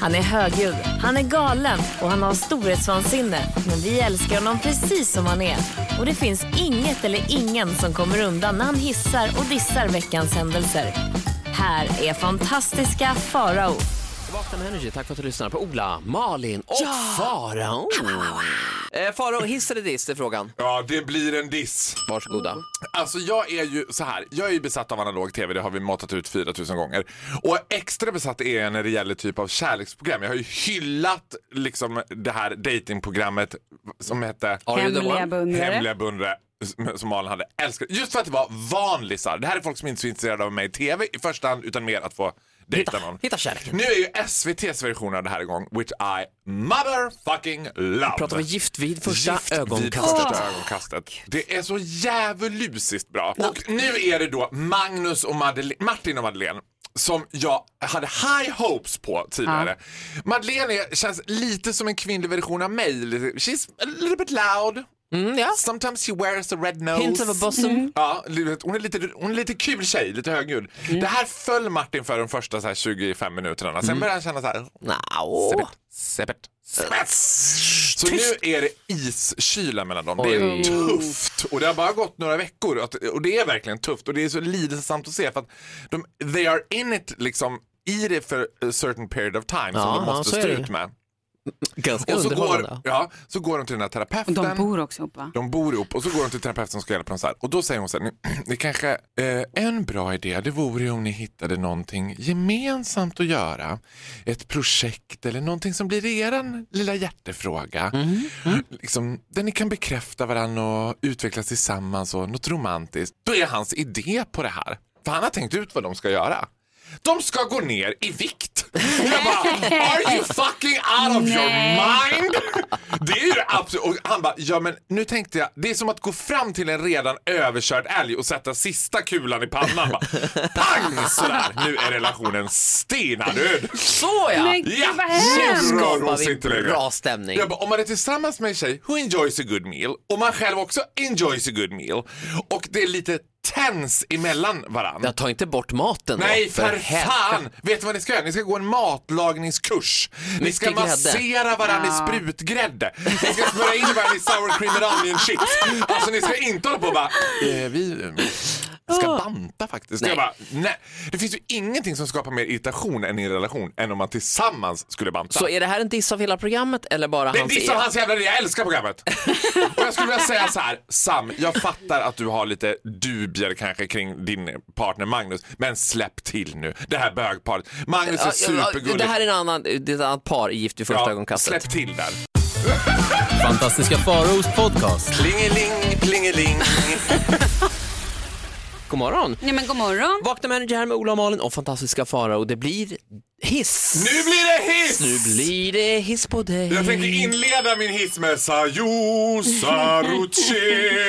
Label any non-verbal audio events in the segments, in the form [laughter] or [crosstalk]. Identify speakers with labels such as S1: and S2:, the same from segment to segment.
S1: Han är högljudd, han är galen och han har storhetsvansinne. Men vi älskar honom precis som han är. Och det finns inget eller ingen som kommer undan när han hissar och dissar veckans händelser. Här är fantastiska Farao.
S2: Vakna med Energy, tack för att du lyssnar på Ola, Malin och Farao. Eh, Farao, hiss eller diss är frågan.
S3: Ja, det blir en diss.
S2: Varsågoda.
S3: Alltså jag är ju så här, jag är ju besatt av analog tv, det har vi matat ut 4000 gånger. Och extra besatt är jag när det gäller typ av kärleksprogram. Jag har ju hyllat liksom det här datingprogrammet som hette
S2: Are you the
S4: Hemliga
S2: one?
S4: beundrare.
S3: Hemliga beundrare som- som Malin hade älskat. Just för att det var vanlisar. Det här är folk som inte är så intresserade av mig i tv i första hand utan mer att få dejta någon.
S2: hitta kärleken.
S3: Nu är ju SVTs version av det här igång, which I motherfucking love.
S2: Pratar vi gift vid första
S3: Gift vid
S2: ögonkastet.
S3: första ögonkastet. Det är så djävulusiskt bra. Och nu är det då Magnus och Madele- Martin och Madeleine som jag hade high hopes på tidigare. Madeleine är- känns lite som en kvinnlig version av mig. Lite- She's a little bit loud.
S2: Mm, ja.
S3: Sometimes she wears a red nose. Mm.
S2: Hint of a bosom.
S3: Ja, du vet, hon är, lite, hon är lite kul tjej, lite högljudd.
S2: Mm.
S3: Det här föll Martin för de första så här, 25 minuterna. Sen började han känna så här...
S2: Nao.
S3: Seppert, seppert, seppert. Så nu är det iskyla mellan dem. Det
S2: Oj.
S3: är tufft. Och det har bara gått några veckor. att- Och det är verkligen tufft. Och det är så lidelsesamt att se. För att de, they are in it liksom i det för a certain period of time
S2: Ja,
S3: som de
S2: ja,
S3: måste
S2: så är
S3: stå
S2: det.
S3: ut med.
S2: Ganska
S3: Och så går,
S2: underhållande.
S3: ja, så går de till den här
S4: Och
S3: terapeuten.
S4: de bor också ihop va?
S3: De bor ihop och så går de till terapeuten som ska hjälpa dem så här. Och då säger hon så här, "Ni- det kanske, eh, en bra idé det vore ju om ni hittade någonting gemensamt att göra. Ett projekt eller någonting som blir er lilla hjärtefråga. Liksom, där ni kan bekräfta varandra och utvecklas tillsammans och något romantiskt. Då är hans idé på det här. För han har tänkt ut vad de ska göra. De ska gå ner i vikt. Jag bara, are you fucking out of your mind? Det är ju absolut... Och han bara, ja men nu tänkte jag, det är som att gå fram till en redan överkörd älg och sätta sista kulan i pannan. Bara, pang sådär, nu är relationen stenadöd.
S2: Såja!
S4: Men gud
S3: Ja,
S4: vad hemskt!
S3: nu rör hon
S2: Skapar
S3: sig
S2: vi
S3: inte längre.
S2: bra stämning.
S3: Jag bara, om man är tillsammans med en tjej who enjoys a good meal och man själv också enjoys a good meal och det är lite tens emellan varandra.
S2: Jag tar inte bort maten då,
S3: Nej, för
S2: hel-
S3: fan! Vet du vad ni ska göra? Ni ska gå en matlagningskurs. Ni
S2: Mycket
S3: ska
S2: grädde.
S3: massera varandra i sprutgrädde. Ni ska smörja in varandra i sour cream and onion chips. Alltså ni ska inte hålla på och bara, eh, vi eh, ska banta faktiskt. Nej. Jag bara, nej. Det finns ju ingenting som skapar mer irritation än i en relation än om man tillsammans skulle banta.
S2: Så är det här en diss av hela programmet eller bara
S3: Det är
S2: hans e-
S3: diss av hans jävla idé, jag älskar programmet. Och jag skulle vilja säga så här, Sam, jag fattar att du har lite dubier kanske kring din partner Magnus, men släpp till nu, det här bögparet. Magnus
S2: Ja,
S3: är
S2: ja,
S3: supergullig.
S2: Det här är en annan, det är ett annat par i Gift vid första ögonkastet.
S3: släpp till där.
S5: Fantastiska Faraos podcast.
S3: Plingeling, plingeling.
S2: God morgon!
S4: Nej men god morgon.
S2: Vakna med Energy här med Ola och Malin och fantastiska Farao och det blir hiss.
S3: nu blir det hiss!
S2: Nu blir det hiss på dig.
S3: Jag tänker inleda min hiss med
S2: [laughs]
S3: Sajo Saruce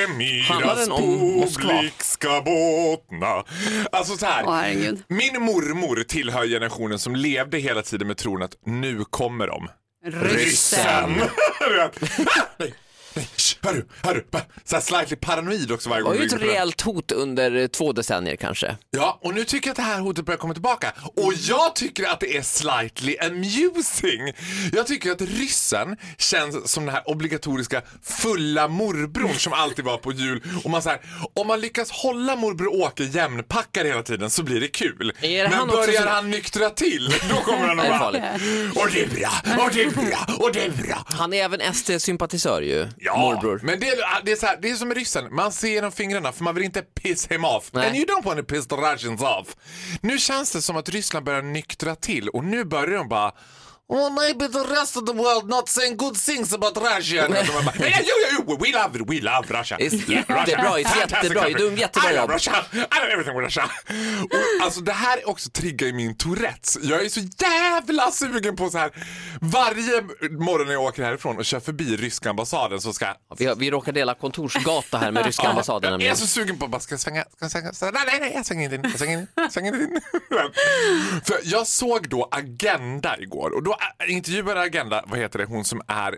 S2: Handlar
S3: Miras
S2: den om Moskva?
S3: publik ska båtna. Alltså så här.
S4: Åh, herregud.
S3: Min mormor tillhör generationen som levde hela tiden med tron att nu kommer de.
S4: Ryssen.
S3: [laughs] Du vet. Ah, nej, nej, sh, Hörru, hörru. bara Så här slightly paranoid också varje
S2: Det
S3: gång.
S2: var ju
S3: vi
S2: ett
S3: lyssnar på den.
S2: rejält hot under eh, två decennier kanske.
S3: Ja, och nu tycker jag att det här hotet börjar komma tillbaka. Och jag tycker att det är slightly amusing. Jag tycker att ryssen känns som den här obligatoriska fulla morbrorn som alltid var på jul. Och man så här, om man lyckas hålla morbror Åke jämnpackad hela tiden så blir det kul.
S2: Är det
S3: Men
S2: han också
S3: börjar
S2: som-
S3: han nyktra till, då kommer
S2: [laughs]
S3: han
S2: Det är
S3: att
S2: farligt.
S3: bara... Och det är bra, och det är bra, och det är bra.
S2: Han är även SD-sympatisör ju,
S3: Ja,
S2: morbror.
S3: men det är, ah, det, är så här, det är som med ryssen, man ser genom fingrarna för man vill inte piss him off.
S2: Nej.
S3: And you don't want to piss the Russians off. Nu känns det som att Ryssland börjar nyktra till och nu börjar de bara Well, maybe the rest of the world not saying good things about
S2: [laughs]
S3: Russia. Och de bara, yeah, yo, yo, yo, we love it, we love Russia.
S2: It's [laughs]
S3: Russia,
S2: jättebra, it's
S3: fantastic
S2: jättebra,
S3: country.
S2: du är en jättebra
S3: I
S2: jobb.
S3: love Russia, I love everything with Russia. Och, alltså det här är också triggar i min Tourettes. Jag är så jävla sugen på så här. Varje morgon när jag åker härifrån och kör förbi ryska ambassaden så ska jag
S2: Vi, har- vi råkar dela kontorsgata här
S3: [laughs]
S2: med ryska ambassaden
S3: jag är
S2: nämligen.
S3: så sugen på att bara ska jag svänga, ska jag svänga, så, nej, nej, nej, jag svänger inte in, jag svänger inte in, jag svänger
S2: [laughs]
S3: inte in. För jag såg då Agenda igår och då ä, intervjuade Agenda, vad heter det, hon som är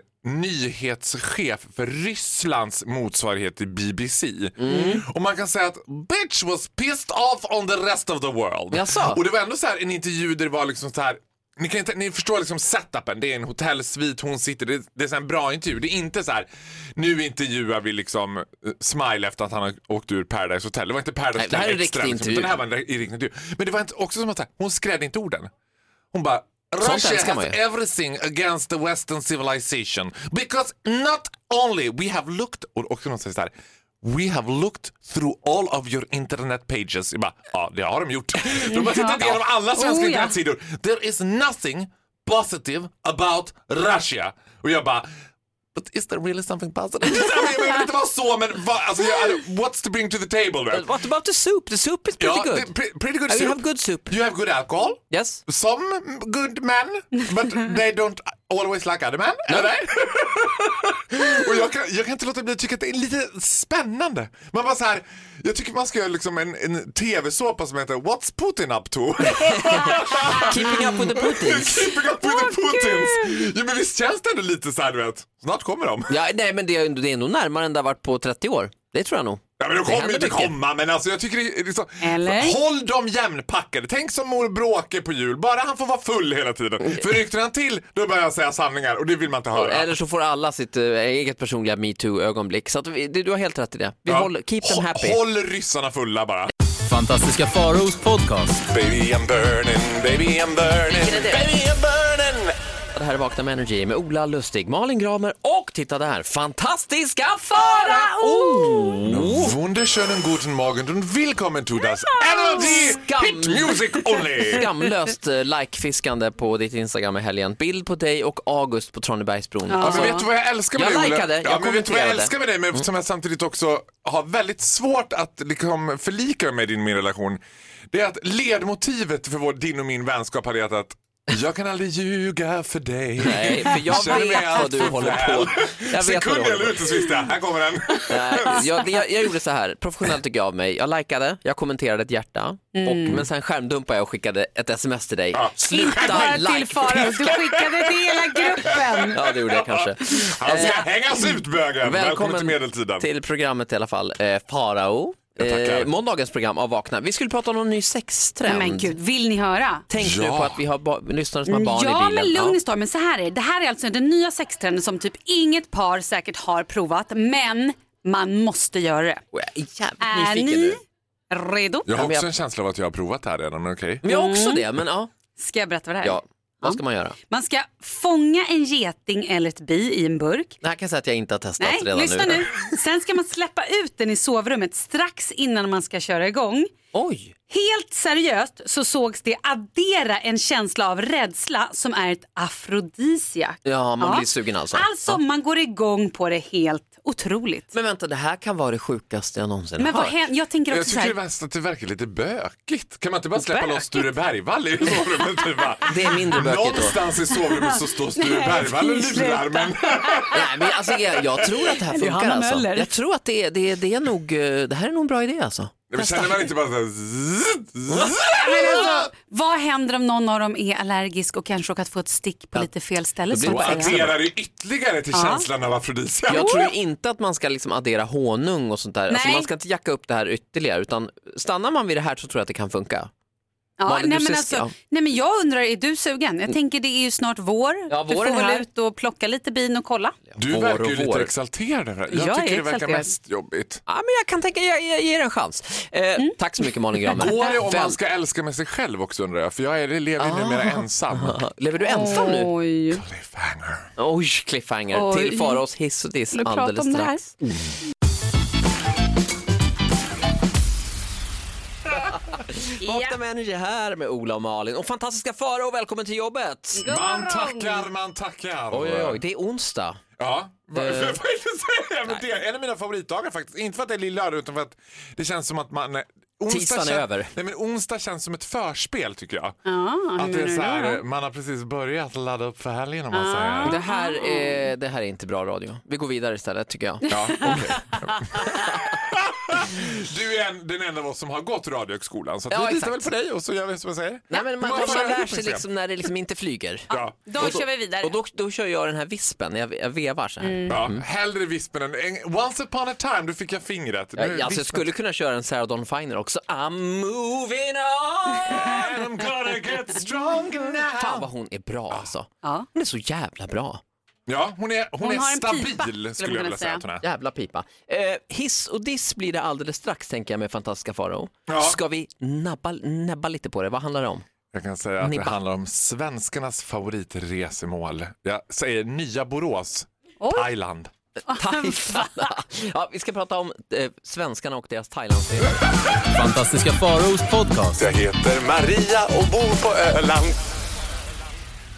S3: nyhetschef för Rysslands motsvarighet till BBC.
S2: Mm.
S3: Och man kan säga att bitch was pissed off on the rest of the world.
S2: Jaså?
S3: Och det var ändå så här en intervju där det var liksom så här Ni, kan inte, ni förstår liksom setupen. Det är en hotellsvit, hon sitter. Det, det är så här en bra intervju. Det är inte så här, nu intervjuar vi liksom eh, Smile efter att han har åkt ur Paradise Hotel. Det var inte Paradise
S2: Nej, det
S3: Hotel
S2: här är en
S3: Extra,
S2: riktig
S3: liksom,
S2: intervju.
S3: utan det här var en ri- riktig intervju. Men det var inte, också som att så här, hon skrädde inte orden. Hon bara Russia
S2: älskar
S3: has
S2: man ju.
S3: everything against the western civilization because not only we have looked, och också någon säger så här, we have looked through all of your internet pages. Jag bara, ja det har
S2: [laughs]
S3: de gjort. De har tittat igenom alla svenska
S4: Oh, ja.
S3: internetsidor. There is nothing positive about Russia. Och jag bara, But is there really something positive?
S2: [laughs]
S3: jag vill inte vara så, men vad, alltså, jag, what's to bring to the table? Right?
S2: What about the soup? The soup is pretty
S3: Ja,
S2: good.
S3: det- pre- pretty good
S2: Uh, You
S3: soup.
S2: have good soup.
S3: You have good alcohol.
S2: Yes.
S3: Some good men, but they don't always like other men. Eller? [laughs] och jag kan, jag kan inte låta bli att tycka att det är lite spännande. Man bara så här, jag tycker man ska göra liksom en, en tv-såpa som heter What's Putin up to?
S2: Keeping up with the Putins.
S3: Keeping up with the Putins. Jo, men visst känns det ändå lite så här, du vet. Snart kommer de.
S2: Ja, nej, men det är, det är nog närmare än det har varit på 30 år. Det tror jag nog.
S3: Ja, men de kommer ju
S2: händer
S3: inte
S2: mycket.
S3: komma, men alltså jag tycker det är liksom,
S4: Eller?
S3: Håll dem jämnpackade. Tänk som mor Bråke på jul, bara han får vara full hela tiden. För ryktena han till, då börjar han säga sanningar och det vill man inte höra.
S2: Eller så får alla sitt eh, eget personliga metoo-ögonblick. Så att vi, det- du har helt rätt i det. Vi
S3: Ja.
S2: håller, keep them
S3: Hå-
S2: happy.
S3: Håll ryssarna fulla bara.
S5: Fantastiska Faraos podcast.
S3: Baby I'm burning, baby I'm burning,
S2: Vilken är det?
S3: baby I'm burning.
S2: Det här är Vakna med Energy med Ola Lustig, Malin Gramer och titta där, fantastiska Farao!
S5: Oh!
S2: Oh.
S3: Wunderschönen guten Morgen und willkommen to das energy
S2: Skam.
S3: hit music only.
S2: Skamlöst eh, likefiskande på ditt Instagram i helgen. Bild på dig och August på Alltså, Tranebergsbron.
S3: Ja, men vet du vad jag älskar med
S2: Jag
S3: dig, Olle?
S2: likade,
S3: ja,
S2: jag
S3: men vet du vad
S2: kommenterade.
S3: jag
S2: Mm.
S3: älskar med dig, men som jag samtidigt också har väldigt svårt att liksom förlika mig med i din min relation. Det är att ledmotivet för vår, din och min vänskap har varit att jag kan aldrig ljuga för dig.
S2: Nej, för jag
S3: Känner mig
S2: vet vad du
S3: alltid
S2: håller
S3: väl.
S2: på. Jag vet vad du
S3: Sekund
S2: håller
S3: eller
S2: på.
S3: ute så visste jag, här kommer den.
S2: Nej, jag, jag, jag gjorde så här, professionellt tycker jag av mig. Jag likade, jag kommenterade ett hjärta,
S3: Mm.
S2: och, men sen skärmdumpade jag och skickade ett sms till dig.
S4: Inte bara
S2: Sluta
S4: till Farao, du skickade till hela
S2: [laughs]
S4: gruppen.
S2: Ja, det gjorde jag kanske.
S3: Han ska hängas ut bögen. Välkommen till medeltiden.
S2: Eh, till programmet i alla fall, eh, Farao. Eh,
S3: Jag tackar.
S2: måndagens program av Vakna. Vi skulle prata om någon ny sextrend.
S4: Nej, Men gud, vill ni höra?
S2: Tänk nu
S3: Ja.
S2: på att vi har ba- lyssnare som har barn
S4: ja,
S2: i bilen.
S4: men lugn i stormen. Så här är det. Det här är alltså den nya sextrenden som typ inget par säkert har provat, men man måste göra det.
S2: Ja. Jag är jävligt
S4: Är
S2: nyfiken
S4: ni
S2: nu.
S4: redo?
S3: Jag har
S2: Ja, men
S3: också
S2: jag-
S3: en känsla av att jag har provat det här redan, men okej.
S2: Men jag har
S4: Mm.
S2: också det, men ja.
S4: Ska jag berätta vad det här är?
S2: ja. Vad ska man göra?
S4: Man ska fånga en geting eller ett bi i en burk.
S2: Det här kan jag säga att jag inte har testat
S4: Nej,
S2: redan
S4: lyssna nu. Sen ska man släppa ut den i sovrummet strax innan man ska köra igång.
S2: Oj!
S4: Helt seriöst så sågs det addera en känsla av rädsla som är ett afrodisiak.
S2: Ja, man blir sugen alltså.
S4: Alltså
S2: Ja.
S4: man går igång på det helt otroligt.
S2: Men
S4: Men,
S2: vänta, det här kan vara det sjukaste jag någonsin har
S4: vad
S2: hört.
S4: händer? Jag tänker
S3: Jag
S4: också så
S3: tycker det
S4: här.
S3: värsta att det verkar lite bökigt. Kan man inte bara släppa
S4: Bökigt?
S3: loss Sture Bergvall i sovrummet? Typ bara?
S2: [laughs] Det är mindre bökigt då.
S3: Någonstans i sovrummet så står Sture Bergvall och
S4: fy,
S3: lurar. Men...
S2: Nej, men alltså, jag, jag tror
S4: [laughs]
S2: att det här
S4: Eller
S2: funkar
S4: Johanna
S2: alltså.
S4: Möller.
S2: Jag tror att det, är- det, är- det är nog, eh, det här är nog en bra idé alltså.
S3: Men känner man inte bara så här... zzz, zzz?
S4: Men alltså, vad händer om någon av dem är allergisk och kanske råkat få ett stick på lite fel ställe?
S2: Det blir
S4: så
S3: Och
S4: att säga.
S3: adderar det ytterligare till känslan av afrodisiak.
S2: Jag tror ju inte att man ska liksom addera honung och sånt där. Alltså
S4: Nej.
S2: man ska inte jacka upp det här ytterligare utan stannar man vid det här så tror jag att det kan funka.
S4: Ja,
S2: Malin,
S4: nej,
S2: du
S4: men
S2: ses-
S4: alltså,
S2: ja. Mm.
S4: nej men jag undrar, är du sugen? Jag tänker det är ju snart vår.
S2: Ja,
S4: du
S2: våren
S4: får
S2: är här.
S4: väl ut och plocka lite bin och kolla.
S3: Du
S2: Vår
S3: verkar
S2: och
S3: ju lite
S2: vår.
S3: exalterad över det här. Jag,
S4: Jag är
S3: tycker det verkar
S4: exalterad.
S3: mest jobbigt.
S2: Ja, men jag kan tänka, jag, jag ger en chans. Eh, Tack så mycket Malin Gramer.
S3: Går det om
S2: Väl- Ah.
S3: man ska älska med sig själv också undrar jag, för jag är, lever ju numera ensam.
S2: Lever du ensam nu?
S4: Oj.
S3: Cliffhanger.
S2: Oj, cliffhanger.
S4: Oj.
S2: Till Faraos hiss och diss
S4: Vill du prata
S2: alldeles
S4: om det här?
S2: strax. Vakna med Energy här med Ola och Malin. Och fantastiska Farao, välkommen till jobbet.
S3: Man tackar, man tackar.
S2: Oj, oj, oj, det är onsdag.
S3: Ja, vad
S2: Eh.
S3: [laughs] vad är det säga? Men det är en av mina favoritdagar faktiskt. Inte för att det är lillördag utan för att det känns som att man... eh, Onsdag
S2: Tisdagen är
S3: kän-
S2: över.
S3: Nej, men onsdag känns som ett förspel tycker jag.
S4: Ja,
S3: Att det är
S4: menar
S3: så
S4: du
S3: här,
S4: då?
S3: man har precis börjat ladda upp för helgen om man säger.
S2: Det här, är, det här är inte bra radio. Vi går vidare istället tycker jag.
S3: Ja,
S2: [laughs]
S3: okej. du är en, den enda av oss som har gått Radiohögskolan så att
S2: Ja,
S3: vi litar
S2: exakt.
S3: väl på dig och så gör vi som jag säger.
S2: Nej, men man,
S3: Hur många
S2: man,
S3: får jag
S2: lär
S3: upp
S2: sig
S3: sen?
S2: liksom när det liksom inte flyger.
S3: Ja.
S4: Då kör vi vidare.
S2: Och då, då kör jag den här vispen, jag, jag vevar så här.
S3: Ja, hellre vispen än... Once upon a time, då fick jag fingret. Nu,
S2: Jag, alltså, jag
S3: Mm. vispen-
S2: skulle kunna köra en Sarah Dawn Finer också I'm moving
S3: [laughs]
S2: on!
S3: I'm gonna get stronger now.
S2: Fan vad hon är bra alltså.
S4: Ja.
S2: Hon är så jävla bra.
S3: Ja, hon är, hon
S4: Hon
S3: är
S4: har en
S3: stabil
S4: pipa, skulle man
S3: skulle jag
S4: kunna
S3: vilja säga
S4: säga.
S3: att hon är.
S2: Jävla pipa. Eh, hiss och diss blir det alldeles strax tänker jag med fantastiska Farao.
S3: Ja.
S2: Ska vi nabba, nabba lite på det? Vad handlar det om?
S3: Jag kan säga att det
S2: Nibba.
S3: handlar om svenskarnas favoritresemål. Jag säger nya Borås, Thailand.
S2: Thailand. [laughs] ja, vi ska prata om eh, svenskarna och deras Thailandsresor.
S5: Fantastiska Faraos podcast.
S3: Jag heter Maria och bor på Öland.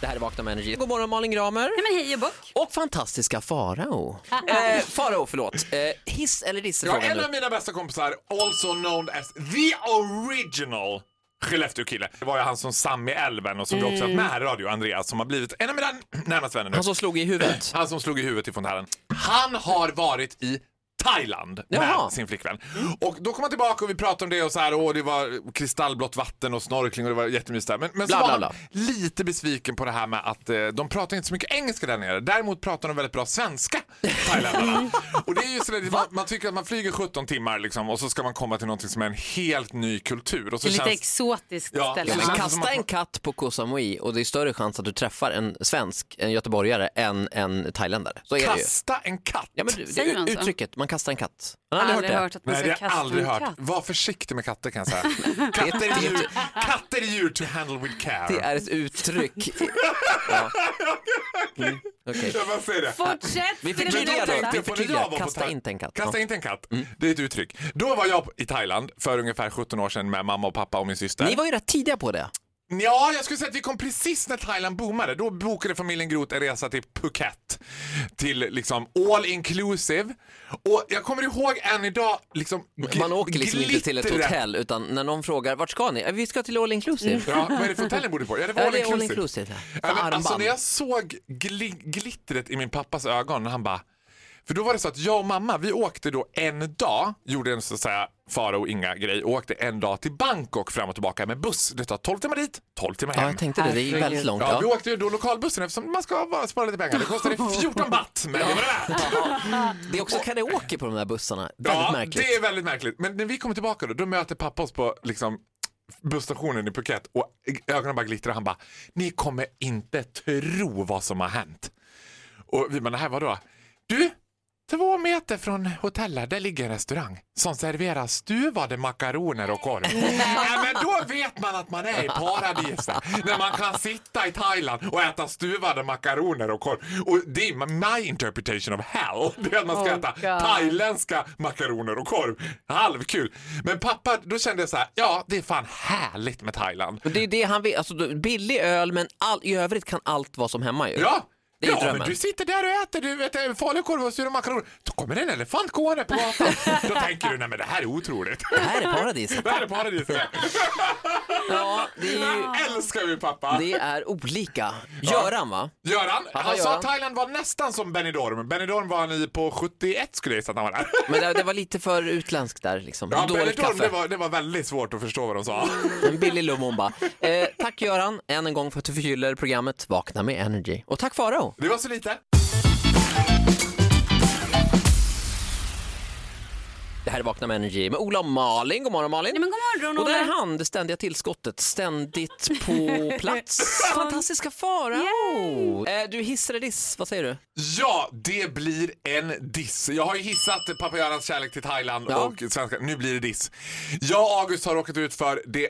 S2: Det här är Vakna med Energy. God morgon Malin Gramer.
S4: Nej, men hej och bock.
S2: Och fantastiska Farao. Eh, farao, förlåt. Eh, hiss eller diss är
S3: Ja,
S2: frågan
S3: en
S2: nu.
S3: av mina bästa kompisar, also known as the original Skellefteå-kille. Det var ju han som Sam i älven och som du också haft med här i radio, Andreas, som har blivit en av mina närmaste vänner nu.
S2: Han som slog i huvudet.
S3: Han som slog i huvudet ifrån herren. Han har varit i Thailand
S2: Jaha.
S3: med sin flickvän. Och då kom han tillbaka och vi pratade om det och så här, åh det var kristallblått vatten och snorkling och det var jättemysigt där. Men, men så
S2: Bla,
S3: var
S2: bla,
S3: han
S2: bla.
S3: lite besviken på det här med att eh, de pratar inte så mycket engelska där nere. Däremot pratar de väldigt bra svenska,
S2: [laughs]
S3: thailändarna. och det är ju så där, man, man tycker att man flyger 17 timmar liksom och så ska man komma till någonting som är en helt ny kultur. Och så
S4: Det är lite
S3: känns...
S4: exotiskt
S3: Ja,
S4: ställe.
S2: Ja, men
S3: Han
S2: kasta
S3: som har-
S2: en katt på Koh Samui och det är större chans att du träffar en svensk, en göteborgare, än en thailändare. Så är det ju.
S3: Kasta en katt!
S2: Ja, men du, det
S4: Säger
S2: är
S4: man så?
S2: uttrycket, man kastar en katt. Man
S4: Jag
S2: har
S4: har
S2: aldrig hört det.
S4: att man
S3: Nej,
S4: ska
S3: det har jag
S4: kasta
S3: aldrig
S4: en
S3: hört.
S4: katt.
S3: Var försiktig med katter kan
S2: [laughs]
S3: jag säga. Katter är djur, katter är djur to handle with care.
S2: Det är ett uttryck. ja. mm. okej.
S3: Jag bara säger det.
S4: Fortsätt!
S2: Vi
S4: för det
S2: förtydligar
S4: blir
S2: då.
S4: detta.
S2: Vi
S3: på när
S2: förtydligar.
S3: jag var på
S2: Kasta
S3: Thai-
S2: inte en katt. Mm.
S3: Kasta inte en katt. Det är ett uttryck. Då var jag i Thailand för ungefär 17 år sedan med mamma och pappa och min syster.
S2: Ni var ju rätt tidiga på det.
S3: Ja, jag skulle säga att vi kom precis när Thailand boomade. Då bokade familjen Groth en resa till Phuket. Till liksom all inclusive. Och jag kommer ihåg än idag liksom
S2: Man åker liksom inte till ett
S3: glittret.
S2: hotell utan när någon frågar vart ska ni? "Eh, Vi ska till all inclusive.
S3: Ja, vad är det för hotell ni bodde på? Ja, det var
S2: Ja,
S3: all
S2: det är all
S3: inclusive.
S2: inclusive. ja.
S3: Ja, men, alltså
S2: Armband.
S3: när jag såg gli glittret i min pappas ögon, han bara... För då var det så att jag och mamma, vi åkte då en dag, gjorde en så att säga fara och inga grej och åkte en dag till Bangkok fram och tillbaka med buss. Det tar 12 timmar dit, 12 timmar
S2: Ja,
S3: hem.
S2: jag tänkte det. Det är väldigt långt.
S3: Ja, vi
S2: Ja.
S3: åkte ju då lokalbussen eftersom man ska bara spara lite pengar.
S2: [laughs]
S3: Det kostade 14 baht, men det var det värt.
S2: Det är också karaoke på de där bussarna.
S3: Ja,
S2: Väldigt märkligt.
S3: det är väldigt märkligt. Men när vi kommer tillbaka då, då möter pappa oss på liksom, busstationen i Phuket och ögonen bara glittrar. Han bara, ni kommer inte tro vad som har hänt. Och vi bara, det här vadå? Du, två meter från hotellet, där ligger en restaurang som serverar stuvade makaroner och
S4: [laughs]
S3: korv. ja, men då vet man att man är i paradiset. När man kan sitta i Thailand och äta stuvade makaroner och korv. Och det är my interpretation of hell. [laughs] Det är att man ska
S4: Oh,
S3: äta
S4: God.
S3: thailändska makaroner och korv. Halvkul. Men pappa, då kände jag så här, ja det är fan härligt med Thailand.
S2: Och Det är det han vill, alltså då- billig öl men all, i övrigt kan allt vara som hemma ju.
S3: Ja!
S2: Det är ju
S3: ja,
S2: drömmen.
S3: men du sitter där och äter du vet, en falukorv och sura makaroner. Då kommer en elefant gående på gatan.
S2: [laughs]
S3: Då tänker du, nej men det här är otroligt. [laughs]
S2: Det här är paradiset.
S3: Det här är paradiset.
S2: Ja, det är ju,
S3: Det här älskar vi pappa.
S2: det är olika. Göran va?
S3: Göran, han sa
S2: Göran.
S3: att Thailand var nästan som Benidorm. Benidorm var han i på 71 skulle jag gissa att han
S2: [laughs]
S3: var där.
S2: Men det, det var lite för utländskt där liksom.
S3: Ja,
S2: Dåligt
S3: Benidorm,
S2: kaffe.
S3: det var, det var väldigt svårt att förstå vad de sa.
S2: En billig lumumba. Eh, tack Göran, än en gång för att du förgyller programmet Vakna med Energy. Och tack Farao.
S3: Det var så lite.
S2: Det här är Vakna med Energy med Ola och Malin. God morgon Malin.
S4: Nej, men god morgon,
S2: och där är
S4: Ola.
S2: han, det ständiga tillskottet, ständigt
S4: [laughs]
S2: på plats. Fantastiska Farao. Eh, du hissar eller diss, vad säger du?
S3: Ja, det blir en diss. Jag har ju hissat pappa Görans kärlek till Thailand
S2: Ja.
S3: och svenska. Nu blir det diss. Jag och August har råkat ut för det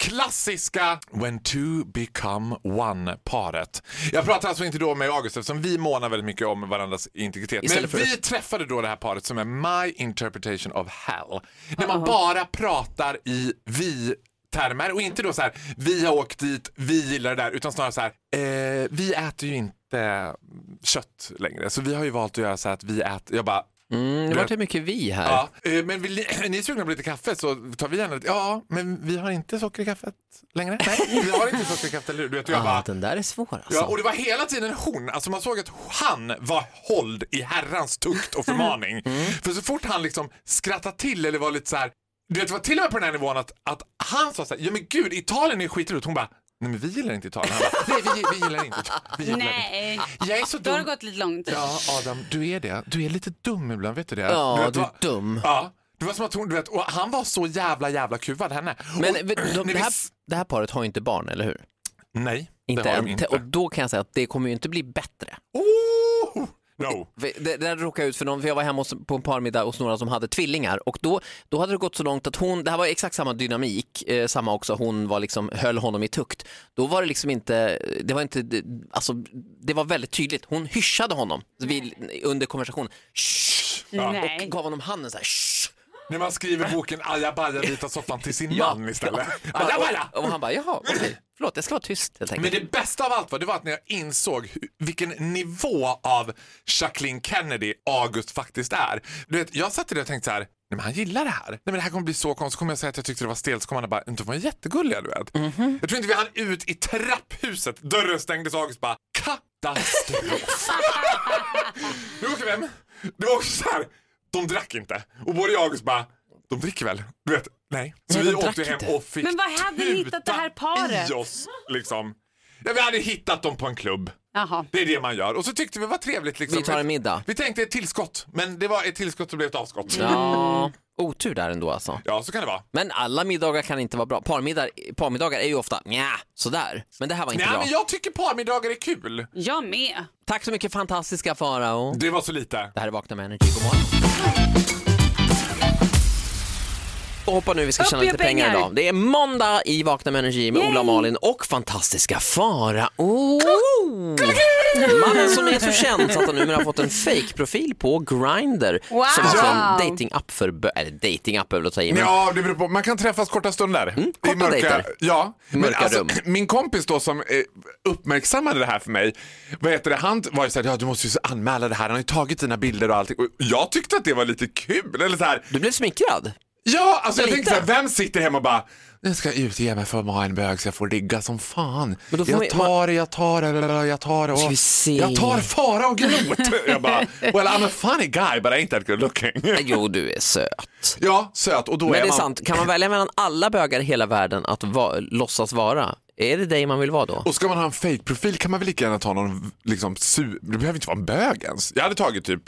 S3: klassiska When two become one-paret. Jag pratar alltså inte då med August eftersom vi månar väldigt mycket om varandras integritet.
S2: Istället
S3: Men
S2: för-
S3: vi träffade då det här paret som är My Interpretation of Hell. När man bara pratar i vi termer och inte då så här vi har åkt dit, vi gillar det där utan snarare så här eh, vi äter ju inte kött längre så vi har ju valt att göra så här att vi äter, jag bara
S2: Mm, det var till mycket vi här.
S3: Ja, eh, men vill ni, [clears throat] ni är sugna på lite kaffe så tar vi gärna lite. Ja, men vi har inte socker i kaffet längre. Nej, vi har inte socker i kaffet, eller hur? Du vet, och jag
S2: Ah,
S3: bara,
S2: den där är svår alltså.
S3: Ja, och det var hela tiden hon. Alltså man såg att han var hålld i herrans tukt och förmaning.
S2: Mm.
S3: För så fort han liksom skrattade till eller var lite så här. Du vet, det var till och med på den här nivån att, att han sa så här, ja men gud, Italien är skitroligt. Hon bara, nej men vi gillar inte Italien. Han bara, nej vi, vi gillar inte Italien. Vi gillar inte.
S4: Nej,
S3: Jag är så
S4: då har det
S3: dum.
S4: gått lite långt.
S3: Ja, Adam, du är det. Du är lite dum ibland, vet du det?
S2: Ja,
S3: vet
S2: du är
S3: vad-
S2: dum.
S3: Ja. Det var som att hon, du vet, och han var så jävla jävla kuvad henne.
S2: Men
S3: och,
S2: de, de,
S3: ni
S2: det, här,
S3: visst-
S2: det här paret har ju inte barn, eller hur?
S3: Nej,
S2: Inte
S3: det har
S2: än.
S3: de inte.
S2: Och då kan jag säga att det kommer ju inte bli bättre.
S3: Oh! No.
S2: Vi- Det, det där råkade jag ut för någon, för jag var hemma hos, på en parmiddag hos några som hade tvillingar och då, då hade det gått så långt att hon, det här var exakt samma dynamik, eh, samma också, hon var liksom, höll honom i tukt. Då var det liksom inte, det var inte, det- alltså det var väldigt tydligt, hon hyschade honom vid, under konversationen. Shh!
S4: Nej.
S2: Gav honom handen så här, shh!
S3: När man skriver boken Ajabaja vita soffan till sin
S2: Ja.
S3: man istället. Ajabaja!
S2: Och, och han bara, jaha, okej, förlåt jag ska vara tyst helt enkelt.
S3: Mm. Men det bästa av allt var, det var att när jag insåg hu- vilken nivå av Jacqueline Kennedy August faktiskt är. Du vet, jag satt där och tänkte så här, nej men han gillar det här. Nej men det här kommer bli så konstigt. Så kommer jag säga att jag tyckte det var stelt så kommer han bara, de var jättegulliga du vet.
S2: Mhm.
S3: Jag tror inte vi hann ut i trapphuset, dörren stängdes och August bara,
S2: [laughs]
S3: katastrof. det var också vem? Det var också så här, de drack inte. Och både jag och August bara, de dricker väl? Du vet, nej. Så
S2: Nej,
S3: vi
S2: de
S3: åkte
S2: drack
S3: hem
S2: inte.
S3: och fick
S4: Men var hade ni hittat det här
S3: tuta
S4: paret?
S3: i oss. Liksom. Ja, vi hade hittat dem på en klubb.
S4: Jaha.
S3: Det är det man gör. Och så tyckte vi det var trevligt. Liksom.
S2: Vi tar en middag.
S3: Vi tänkte ett tillskott, men det var ett tillskott som blev ett avskott. Ja.
S2: Ja, otur där ändå alltså.
S3: så kan det vara.
S2: Men alla middagar kan inte vara bra. Parmiddagar, parmiddagar är ju ofta nja, sådär. Men det här var inte
S3: Nej,
S2: bra.
S3: men jag tycker parmiddagar är kul.
S4: Jag med.
S2: Tack så mycket fantastiska Farao.
S3: Det var så lite.
S2: Det här är Vakna med Energy, god morgon. Och hoppa nu, vi ska
S4: Upp
S2: tjäna
S4: med
S2: lite pengar.
S4: pengar.
S2: idag. Det är måndag i Vakna med Energy med
S4: Yay.
S2: Ola och Malin och fantastiska Farao. Mannen som är så känd så att han numera har fått en fake-profil på Grindr.
S4: Wow.
S2: Som alltså
S4: Ja.
S2: en dating-app för bö- eller dating-app är väl att ta i, men
S3: Ja, det beror på. Man kan träffas korta stunder. I
S2: Mm, korta dejter.
S3: Ja. Men
S2: Mörka
S3: alltså,
S2: rum.
S3: min kompis då som eh, uppmärksammade det här för mig, vad heter det, han var ju såhär, ja du måste ju anmäla det här, han har ju tagit dina bilder och allting. Och jag tyckte att det var lite kul, eller så här,
S2: du blev smickrad.
S3: Ja, alltså jag
S2: Lite.
S3: tänkte såhär, vem sitter hemma och bara nu ska jag utge mig för att vara en bög så jag får ligga som fan.
S2: Men då får man-
S3: jag tar det, jag tar det, lalala, jag tar det.
S2: Ska
S3: Och,
S2: vi se.
S3: jag tar fara och grot. [laughs] jag bara, well I'm a funny guy but I ain't that good looking.
S2: Jo, du är söt.
S3: ja, söt och då
S2: Men
S3: är
S2: det är
S3: man...
S2: sant, kan man välja mellan alla bögar i hela världen att va- låtsas vara? Är det dig man vill vara då?
S3: Och ska man ha en fake-profil kan man väl lika gärna ta någon, liksom, su... det behöver inte vara en bög ens. Jag hade tagit typ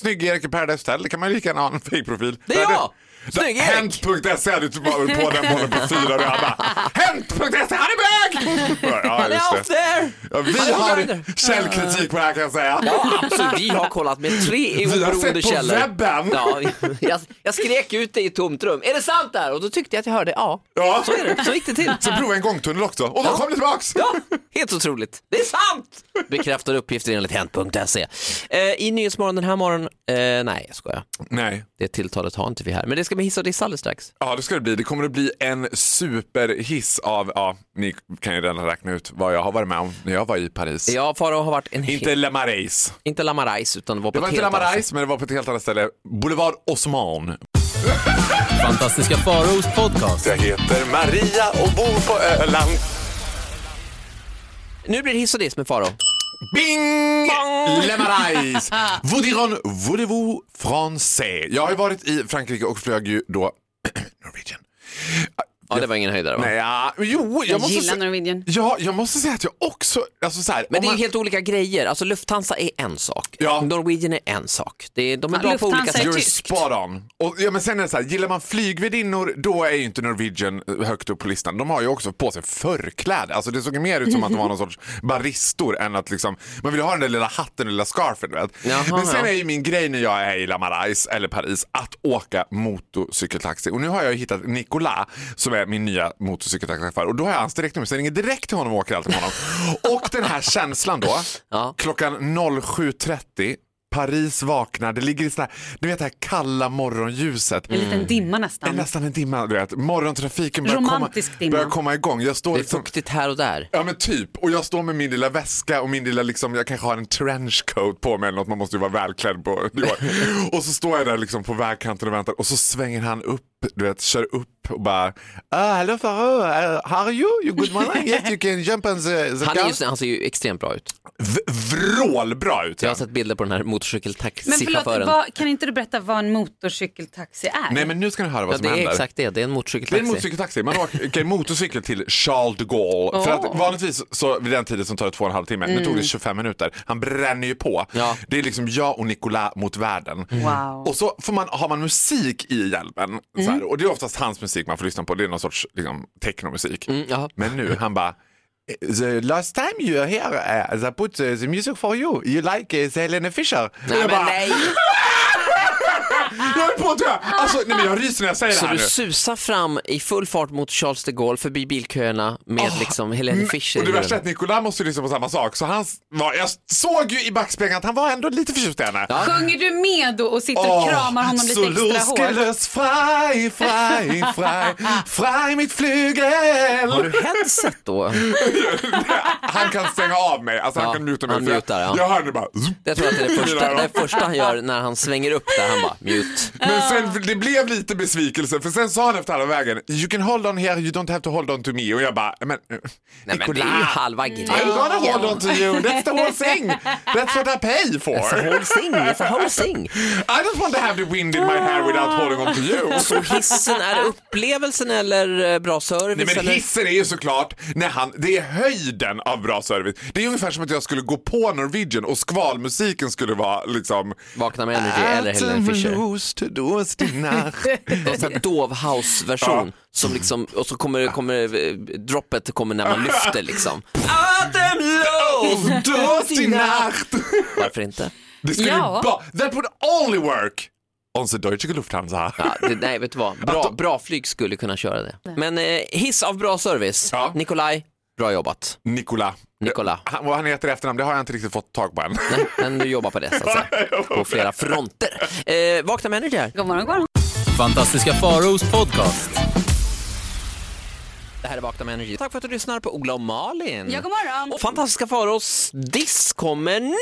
S3: Snygg Erik i Paradise Hotel, det kan man ju lika gärna ha en fake-profil.
S2: Det är jag! Snygg Erik!
S3: Hent.se E, hade du bara på den bollen på fyra röda. Hent.se, E, han är bög! Ja,
S2: Han är
S3: just
S2: off
S3: det.
S2: there!
S3: Ja, vi
S2: Han är
S3: har
S2: outsider.
S3: källkritik på det här kan jag säga.
S2: Ja, absolut. Vi har kollat med tre
S3: har
S2: oberoende
S3: sett på
S2: källor.
S3: webben.
S2: Ja, [laughs] jag, jag skrek ut det i ett tomt rum. Är det sant där? Och då tyckte jag att jag hörde ja.
S3: Ja.
S2: Så är det. Så gick det till.
S3: Så prova en gångtunnel också. Och då kom det tillbaks!
S2: Ja, helt otroligt. Det är sant! Bekräftar uppgifter enligt Hent.se. Eh, I Nyhetsmorgon den här morgonen, eh, nej jag skojar.
S3: Nej,
S2: Det tilltalet har inte vi här. Men det ska bli hiss och diss alldeles strax.
S3: ja det ska det bli. Det kommer att bli en superhiss av, ja, ni kan ju redan räkna ut vad jag har varit med om när jag var i Paris.
S2: Ja, Farao har varit en
S3: Inte Le Marais.
S2: Inte Lamarajs utan var på
S3: Det var
S2: ett
S3: inte
S2: helt annat sätt.
S3: Lamarais, men det var på ett helt annat ställe. Boulevard Osman.
S5: Fantastiska Faraos podcast.
S3: Jag heter Maria och bor på Öland.
S2: Nu blir det hiss och diss med Faro.
S3: Bing!
S2: Bong!
S3: Le
S2: [laughs]
S3: Marais. Vous dirons, voulez-vous français? Jag har ju varit i Frankrike och flög ju då [clears throat] Norwegian.
S2: Ja, det var ingen höjdare va?
S3: Nej, ja, men jo, jag,
S4: Jag,
S3: måste
S4: gillar
S3: se-
S4: Norwegian.
S3: Ja, jag måste säga att jag också, alltså så här,
S2: Men
S3: om
S2: det är
S3: man-
S2: ju helt olika grejer. Alltså Lufthansa är en sak.
S3: Ja.
S2: Norwegian är en sak. Det är, de är
S4: Ja,
S2: bra på olika
S4: Lufthansa är
S2: sätt.
S3: You're
S4: tyskt.
S3: spot on. Och, ja, men sen är det så här, gillar man flygvärdinnor då är ju inte Norwegian eh, högt upp på listan. De har ju också på sig förkläde. Alltså, det såg ju mer ut som att de var någon sorts baristor än att liksom, man vill ha den där lilla hatten och lilla scarfen. Vet.
S2: Jaha,
S3: men sen
S2: ja.
S3: är ju min grej när jag är i La Marais eller Paris att åka motorcykeltaxi. Och nu har jag ju hittat Nicolas som är min nya motorcykeltaxichaufför och då har jag hans direktnummer så jag ringer direkt till honom och åker alltid med honom. och den här känslan då,
S2: Ja.
S3: klockan 07.30 Paris vaknar, det ligger i sådär, du vet det här kalla morgonljuset.
S2: Mm.
S4: En liten dimma nästan.
S3: Nästan en timme, du vet. Morgontrafiken börjar
S4: Romantisk
S3: komma,
S4: dimma.
S3: börjar komma igång. Jag står
S2: Det är
S3: liksom,
S2: fuktigt här och där.
S3: Ja men typ, och jag står med min lilla väska och min lilla liksom, jag kanske har en trenchcoat på mig eller
S2: [laughs]
S3: något, man måste ju vara välklädd på. Och så står jag där liksom på vägkanten och väntar och så svänger han upp du vet, kör upp och bara ah, hello Faro, uh, how are you? You good morning? Yes you can jump on the, the
S2: Han, är
S3: car."
S2: ju, han ser ju extremt bra ut.
S3: V- Vrålbra ut!
S2: Jag
S3: ja.
S2: har sett bilder på den här
S4: Men förlåt,
S2: motorcykeltaxichauffören.
S4: vad, kan inte du berätta vad en motorcykeltaxi är?
S3: Nej men nu ska ni höra vad
S2: Ja,
S3: som
S2: det är
S3: händer.
S2: exakt det, det är en
S3: Det är en
S2: motorcykeltaxi.
S3: motorcykeltaxi. Man åker motorcykel till Charles de Gaulle. För att vanligtvis så vid den tiden som tar det två och en halv timme, nu tog det 25 minuter. Han bränner ju på.
S2: Mm. Ja. Mm.
S3: Det är liksom jag och Nicolas mot världen.
S4: Wow.
S3: Och så får man, har man musik i hjälmen. Så
S2: Mm.
S3: här, och det är oftast hans musik man får lyssna på. Det är någon sorts liksom, technomusik.
S2: Mm, ja.
S3: Men nu, han bara "Eh, The last time you are here, uh, I put uh, the music for you. You like uh, Helene Fischer. Och
S2: Nej, men
S3: jag bara,
S2: nej.
S3: [laughs] jag är på att dö! Alltså, nej, men jag ryser när jag säger
S2: Så
S3: det här
S2: du
S3: nu.
S2: susar fram i full fart mot Charles de Gaulle förbi bilköerna med liksom
S4: Mm.
S2: Helene Fischer
S3: Mm. Och det
S2: i
S3: värsta är
S2: rullen.
S3: att Nicolas måste ju lyssna på samma sak. Så han var, jag såg ju i backspegeln att han var ändå lite förtjust i henne. Ja.
S4: Sjunger du med då och sitter och kramar honom lite extra hårt?
S3: frei, frei, frei, frei mitt flygel.
S2: Har du headset då?
S3: [laughs] Han kan stänga av mig, alltså
S2: Ja,
S3: han kan muta mig.
S2: han
S3: för jag-
S2: mutar, ja.
S3: Jag hör det bara.
S2: Jag tror att det är det första,
S3: Mina
S2: det är
S3: öron.
S2: det första han gör när han svänger upp där, han bara mute.
S3: Men sen, det blev lite besvikelse för sen sa han efter halva vägen You can hold on here, you don't have to hold on to me. Och jag bara, men eh,
S2: Nej men det är ju
S3: Nicolas,
S2: halva
S3: I'm
S2: grejen.
S3: gonna hold on to you, that's the whole thing. That's what I pay for.
S2: It's a whole thing, it's a whole thing.
S3: I just want to have the wind in my hair without holding on
S2: [laughs]
S3: to you.
S2: Så hissen, är det upplevelsen eller eh, bra
S3: Nej,
S2: service?
S3: men
S2: eller?
S3: hissen är ju såklart, när han, det är höjden av bra service. Det är ungefär som att jag skulle gå på Norwegian och skvalmusiken skulle vara liksom...
S2: Vakna med Energy eller Helene Fischer. [laughs] En sån här Dove House-version. Som liksom, och så kommer, kommer eh, droppet kommer när [laughs] man lyfter liksom.
S3: Dust i nacht!
S2: Varför inte?
S3: Det skulle
S4: Ja.
S3: ju bara... That would only work! On the Deutsche Lufthansa.
S2: Ja, det, nej, vet du vad? Bra, bra flyg skulle kunna köra det. Men eh, hiss av bra service.
S3: Ja.
S2: Nikolaj, bra jobbat.
S3: Nicola.
S2: Nicola.
S3: Han, vad han heter i efternamn, det har jag inte riktigt fått tag på än.
S2: Nej, men du jobbar på det så att [laughs] säga. På flera fronter. Eh, vakna med Energy här.
S4: God morgon, god morgon.
S5: Fantastiska Faraos podcast.
S2: Det här är Vakna med Energy. Tack för att du lyssnar på Ola och Malin.
S4: Ja, god morgon.
S2: Och Fantastiska Faros diss kommer nu.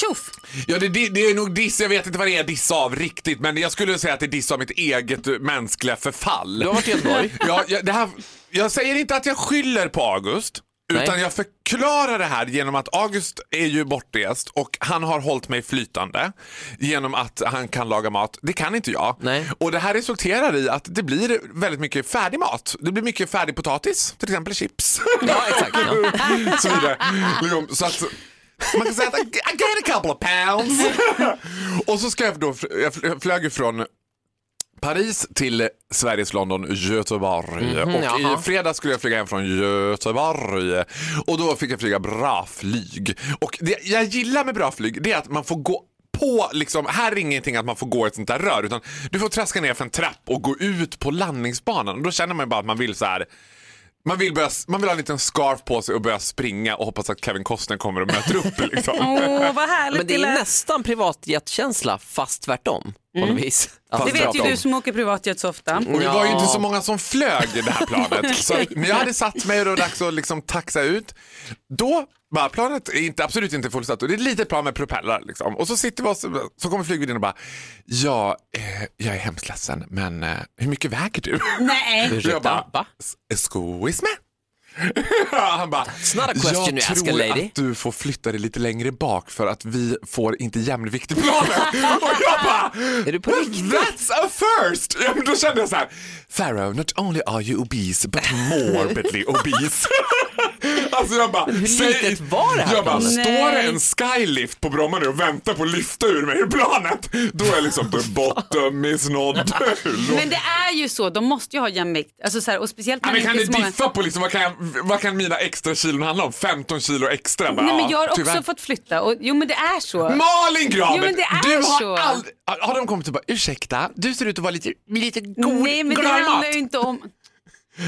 S4: Tjoff!
S3: Ja, det, det, det är nog diss. Jag vet inte vad det är diss av riktigt, men jag skulle säga att det är diss av mitt eget eh, mänskliga förfall.
S2: Du har varit i Göteborg.
S3: Ja, jag, det här, jag säger inte att jag skyller på August.
S2: Nej.
S3: Utan jag förklarar det här genom att August är ju bortrest och han har hållit mig flytande genom att han kan laga mat. Det kan inte jag.
S2: Nej.
S3: Och det här resulterar i att det blir väldigt mycket färdig mat. Det blir mycket färdig potatis, till exempel chips.
S2: [laughs]
S3: [laughs]
S2: Ja, exakt. Ja.
S3: så vidare. Liksom, så att, man kan säga att I got a couple of pounds. och så ska jag då, jag fl- flög ju från Paris till Sveriges London, Göteborg. och
S2: jaha.
S3: i fredags skulle jag flyga hem från Göteborg. Och då fick jag flyga bra flyg. Och det jag gillar med bra flyg det är att man får gå på, liksom, här är ingenting att man får gå i ett sånt där rör utan du får traska ner för en trapp och gå ut på landningsbanan. Och då känner man ju bara att man vill så här man vill, börja, man vill ha en liten scarf på sig och börja springa och hoppas att Kevin Costner kommer och möter upp. Liksom.
S4: Åh, vad härligt
S2: Men det är
S4: lät.
S2: nästan privatjetkänsla fast tvärtom. På något vis.
S3: Fast
S4: Det vet ju
S3: pratar om.
S4: du som åker privatjet så ofta.
S3: Och det var ju inte
S2: Ja.
S3: så många som flög i det här planet. Så, men jag hade satt mig och det var dags att liksom taxa ut. Då, bara, planet är inte, absolut inte fullsatt och det är ett litet plan med propellrar. Liksom. Och så sitter vi och så, så kommer flygvärdinnan och bara, ja, eh, jag är hemskt ledsen men eh, hur mycket väger du?
S4: Nej.
S3: Och jag bara,
S2: Va? [laughs]
S3: Excuse me? Han bara,
S2: It's not a question
S3: jag
S2: you ask a
S3: tror
S2: lady."
S3: att du får flytta dig lite längre bak för att vi får inte jämvikt i planet. [laughs] och jag bara,
S2: Är du på
S3: "Well,
S2: riktigt?"
S3: that's a first! Ja, men då kände jag så här, Pharaoh, not only are you obese but
S2: [laughs]
S3: morbidly obese. [laughs] alltså jag bara,
S2: hur
S3: "Säg-
S2: litet var det här
S3: Jag bara,
S2: planet?
S3: står det
S4: Nej.
S3: en skylift på Bromma nu och väntar på att lyfta ur mig ur planet, då är liksom the bottom is not [laughs]
S4: Men det är ju så, de måste ju ha jämvikt. Alltså så här, och speciellt
S3: Ja,
S4: när
S3: men
S4: det
S3: kan
S4: inte
S3: du
S4: är så många.
S3: diffa på liksom, vad, kan jag, vad kan mina extra kilon handla om? 15 kilo extra? Bara,
S4: Nej, men
S3: ja,
S4: jag har också
S3: tyvärr.
S4: fått flytta. Och, jo men det är så.
S3: Malin Graben!
S4: Jo, men det är
S3: du har
S4: så.
S3: aldrig... Har de kommit och bara ursäkta, du ser ut att vara lite, lite god,
S4: Nej men det
S3: glad i mat.
S4: handlar ju inte om...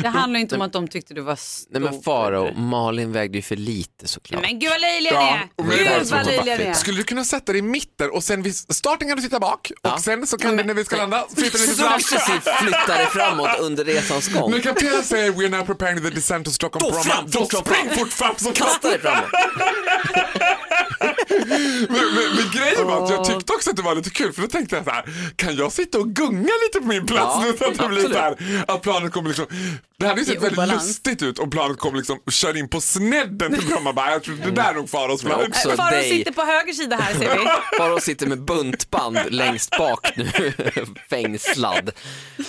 S4: Det handlar ju inte om att de tyckte du var stor.
S2: Nej men Faro,
S4: Mm.
S2: Malin vägde ju för lite såklart.
S4: Men gud vad löjliga ni
S3: Ja,
S4: är.
S3: och
S2: det är
S4: Gud
S2: så
S4: vad löjliga ni
S2: vackert.
S4: är.
S3: Skulle du kunna sätta dig i mitten och sen vid starten kan du sitta bak och sen så kan du när vi ska landa flytta lite fram.
S2: Successivt flyttar det framåt under resans gång.
S3: När kaptenen säger we're now preparing the descent to Stockholm
S2: Då
S3: Bromma,
S2: fram,
S3: då
S2: fort som
S3: spring fort fram som
S2: Kasta dig framåt.
S3: Men, men, men grejen var att jag tyckte också att det var lite kul för då tänkte jag så här, kan jag sitta och gunga lite på min plats
S2: Ja,
S3: nu så att det blir
S2: absolut.
S3: så här, att planet kommer liksom, det hade ju
S4: I
S3: sett väldigt
S4: obalans.
S3: lustigt ut om planet kom liksom, och körde in på snedden till Bromma bara, jag tror det där är nog faros
S2: Ja,
S3: plan.
S2: också. Så
S4: Farao
S2: dig.
S4: Äh, sitter på höger sida här
S3: [laughs]
S4: ser vi.
S2: Farao sitter med buntband längst bak nu, [laughs] fängslad.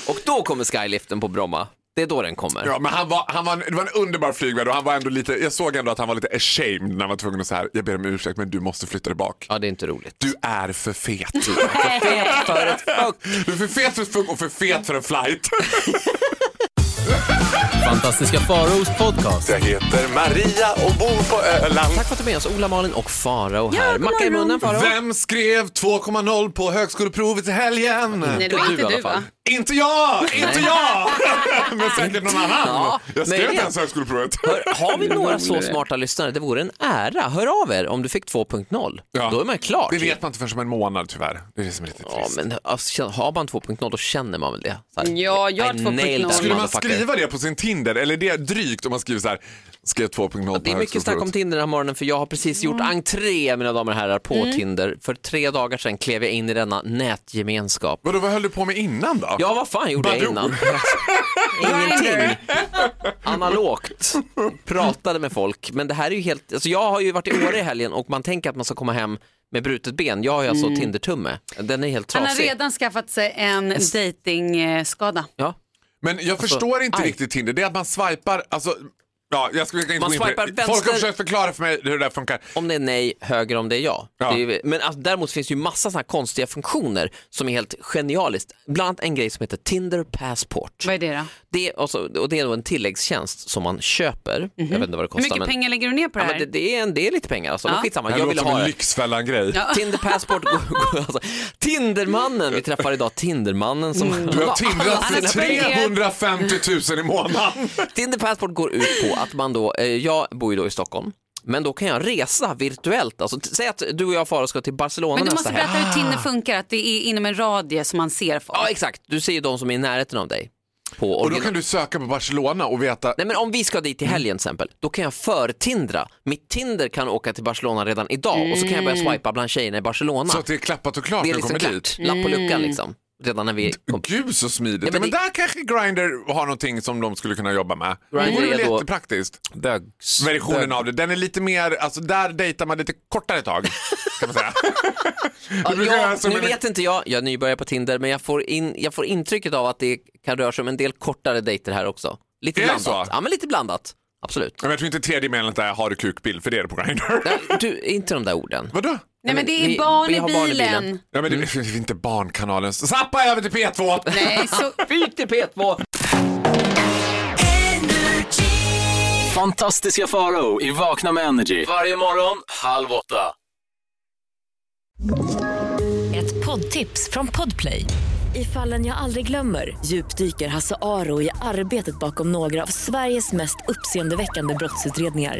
S2: Och då kommer skyliften på Bromma. Det är då den kommer.
S3: Ja, men han var, han var, det var en underbar flygvärd och han var ändå lite, jag såg ändå att han var lite ashamed när han var tvungen att så här, jag ber om ursäkt men du måste flytta dig bak.
S2: Ja, det är inte roligt.
S3: Du är för fet.
S2: [laughs] För ett fuck.
S3: Du är för fet för ett funk och för fet för en flight.
S5: Fantastiska Faraos podcast.
S3: Jag heter Maria och bor på Öland.
S2: Tack för att du är med oss, Ola, Malin och Farao
S4: Ja,
S2: här.
S4: god
S2: Macka i
S4: morgon.
S2: munnen, Farao.
S3: Vem skrev 2,0 på högskoleprovet i helgen?
S4: [laughs] Nej, det var
S2: du i
S4: inte
S2: alla
S4: du va?
S2: fall.
S3: Inte jag! Inte
S2: [laughs]
S3: jag! Men säkert någon annan.
S2: Ja,
S3: jag skrev
S2: möjligen.
S3: inte ens högskoleprovet.
S2: Hör, har vi några så smarta lyssnare? Det vore en ära. Hör av er om du fick 2.0.
S3: Ja.
S2: Då är man klar.
S3: Det vet man inte förrän om en månad tyvärr. Det är det som är lite trist.
S2: Ja, men alltså, har man 2.0 då känner man väl det. Så här,
S4: Ja, jag har
S2: I nailed
S4: 2.0.
S2: that
S3: Skulle man
S2: motherfucker.
S3: skriva det på sin Tinder? Eller är det drygt om man skriver så här, skrev 2.0 på
S2: Det är mycket snack om
S3: högskoleprovet?
S2: Tinder den här morgonen för jag har precis gjort
S4: Mm.
S2: entré mina damer och herrar på Tinder. För tre dagar sedan klev jag in i denna nätgemenskap.
S3: Vadå, vad höll du på med innan då?
S2: Ja, vad fan gjorde jag
S3: Badoo. [laughs]
S2: innan? Ingenting. Analogt. Pratade med folk. Men det här är ju helt, alltså jag har ju varit i Åre i helgen och man tänker att man ska komma hem med brutet ben. Jag har ju alltså
S3: Mm.
S2: Tinder-tumme. Den är helt
S4: Han har
S2: trasig.
S4: redan skaffat sig en dejtingskada.
S2: Ja.
S3: Men jag förstår inte
S2: Alltså, aj.
S3: riktigt Tinder. Det är att man swipar, alltså, ja, jag ska jag kan inte
S2: Man
S3: gå in på
S2: swipar
S3: det. Folk
S2: vänster-
S3: har försökt förklara för mig hur det där funkar.
S2: Om det är nej, höger om det är ja.
S3: Ja.
S2: Det är, ju- men alltså, däremot finns det ju massa såna här konstiga funktioner som är helt genialiskt. Bland annat en grej som heter Tinder Passport.
S4: Vad är det då?
S2: Det, och, så, och det är då en tilläggstjänst som man köper. Jag vet inte vad det
S4: Mhm. Hur
S2: kostar.
S4: mycket
S2: men,
S4: pengar lägger du ner på det
S2: ja,
S4: här?
S2: men det, det, är en, det är lite pengar alltså. Men
S4: Ja.
S2: skitsamma,
S3: Det här
S2: jag ville
S3: låter som
S2: ha
S3: en
S2: det.
S3: Lyxfällan-grej.
S2: Tinder Passport, alltså, Tindermannen, vi träffar idag Tindermannen som
S4: Mm.
S2: [laughs]
S3: Du har tindrat
S4: Han har
S3: för 350 000 i månaden.
S2: Tinder Passport går ut på att man då, eh, jag bor ju då i Stockholm, men då kan jag resa virtuellt. Alltså, t- säg att du och jag Farao ska till Barcelona
S4: Men du
S2: nästa
S4: måste
S2: helg.
S4: berätta hur Tinder funkar, att det är inom en radie som man ser folk.
S2: Ja exakt, du ser ju de som är i närheten av dig. På
S3: Och då Mm.
S2: original-
S3: kan du söka på Barcelona och veta
S2: Nej men om vi ska dit till helgen till exempel, då kan jag förtindra. Mitt Tinder kan åka till Barcelona redan idag och så kan jag börja
S4: Mm.
S2: swipa bland tjejerna i Barcelona.
S3: så att det är klappat och klart
S2: det
S3: när
S2: är
S3: du
S2: liksom
S3: kommer dit.
S2: klart, lapp på
S4: Mm.
S2: luckan liksom. Redan när vi kom.
S3: Gud så smidigt.
S2: Ja,
S3: Ja,
S2: men
S3: men
S2: det-
S3: där kanske Grindr har någonting som de skulle kunna jobba med.
S2: Grindr
S3: det vore väl
S2: är då-
S3: jättepraktiskt. Versionen av det. Den är lite mer, alltså där dejtar man lite kortare tag. Kan man säga.
S2: [laughs] Ja,
S3: Det brukar
S2: jag-
S3: vara som
S2: nu
S3: en-
S2: vet inte jag, jag är nybörjare på Tinder, men jag får, in, jag får intrycket av att det kan röra sig om en del kortare dejter här också. Lite
S3: Är det
S2: blandat.
S3: så?
S2: Ja men lite blandat,
S3: [laughs]
S2: absolut.
S3: Men jag tror inte tredje meningen är har du kukbild, för det är det på Grindr.
S2: Nej, Du, inte de där orden.
S3: Vadå?
S4: Nej men det är
S2: Vi-
S4: barn,
S2: vi
S4: i
S2: har barn i bilen.
S4: bilen.
S3: Ja, men det,
S2: Mm.
S3: det är inte Barnkanalen. Zappa över till P2!
S4: Nej, så...
S2: [laughs] Fy till P2!
S5: Fantastiska Farao i Vakna med Energy. Varje morgon, halv åtta.
S1: Ett poddtips från Podplay. I fallen jag aldrig glömmer djupdyker Hasse Aro i arbetet bakom några av Sveriges mest uppseendeväckande brottsutredningar.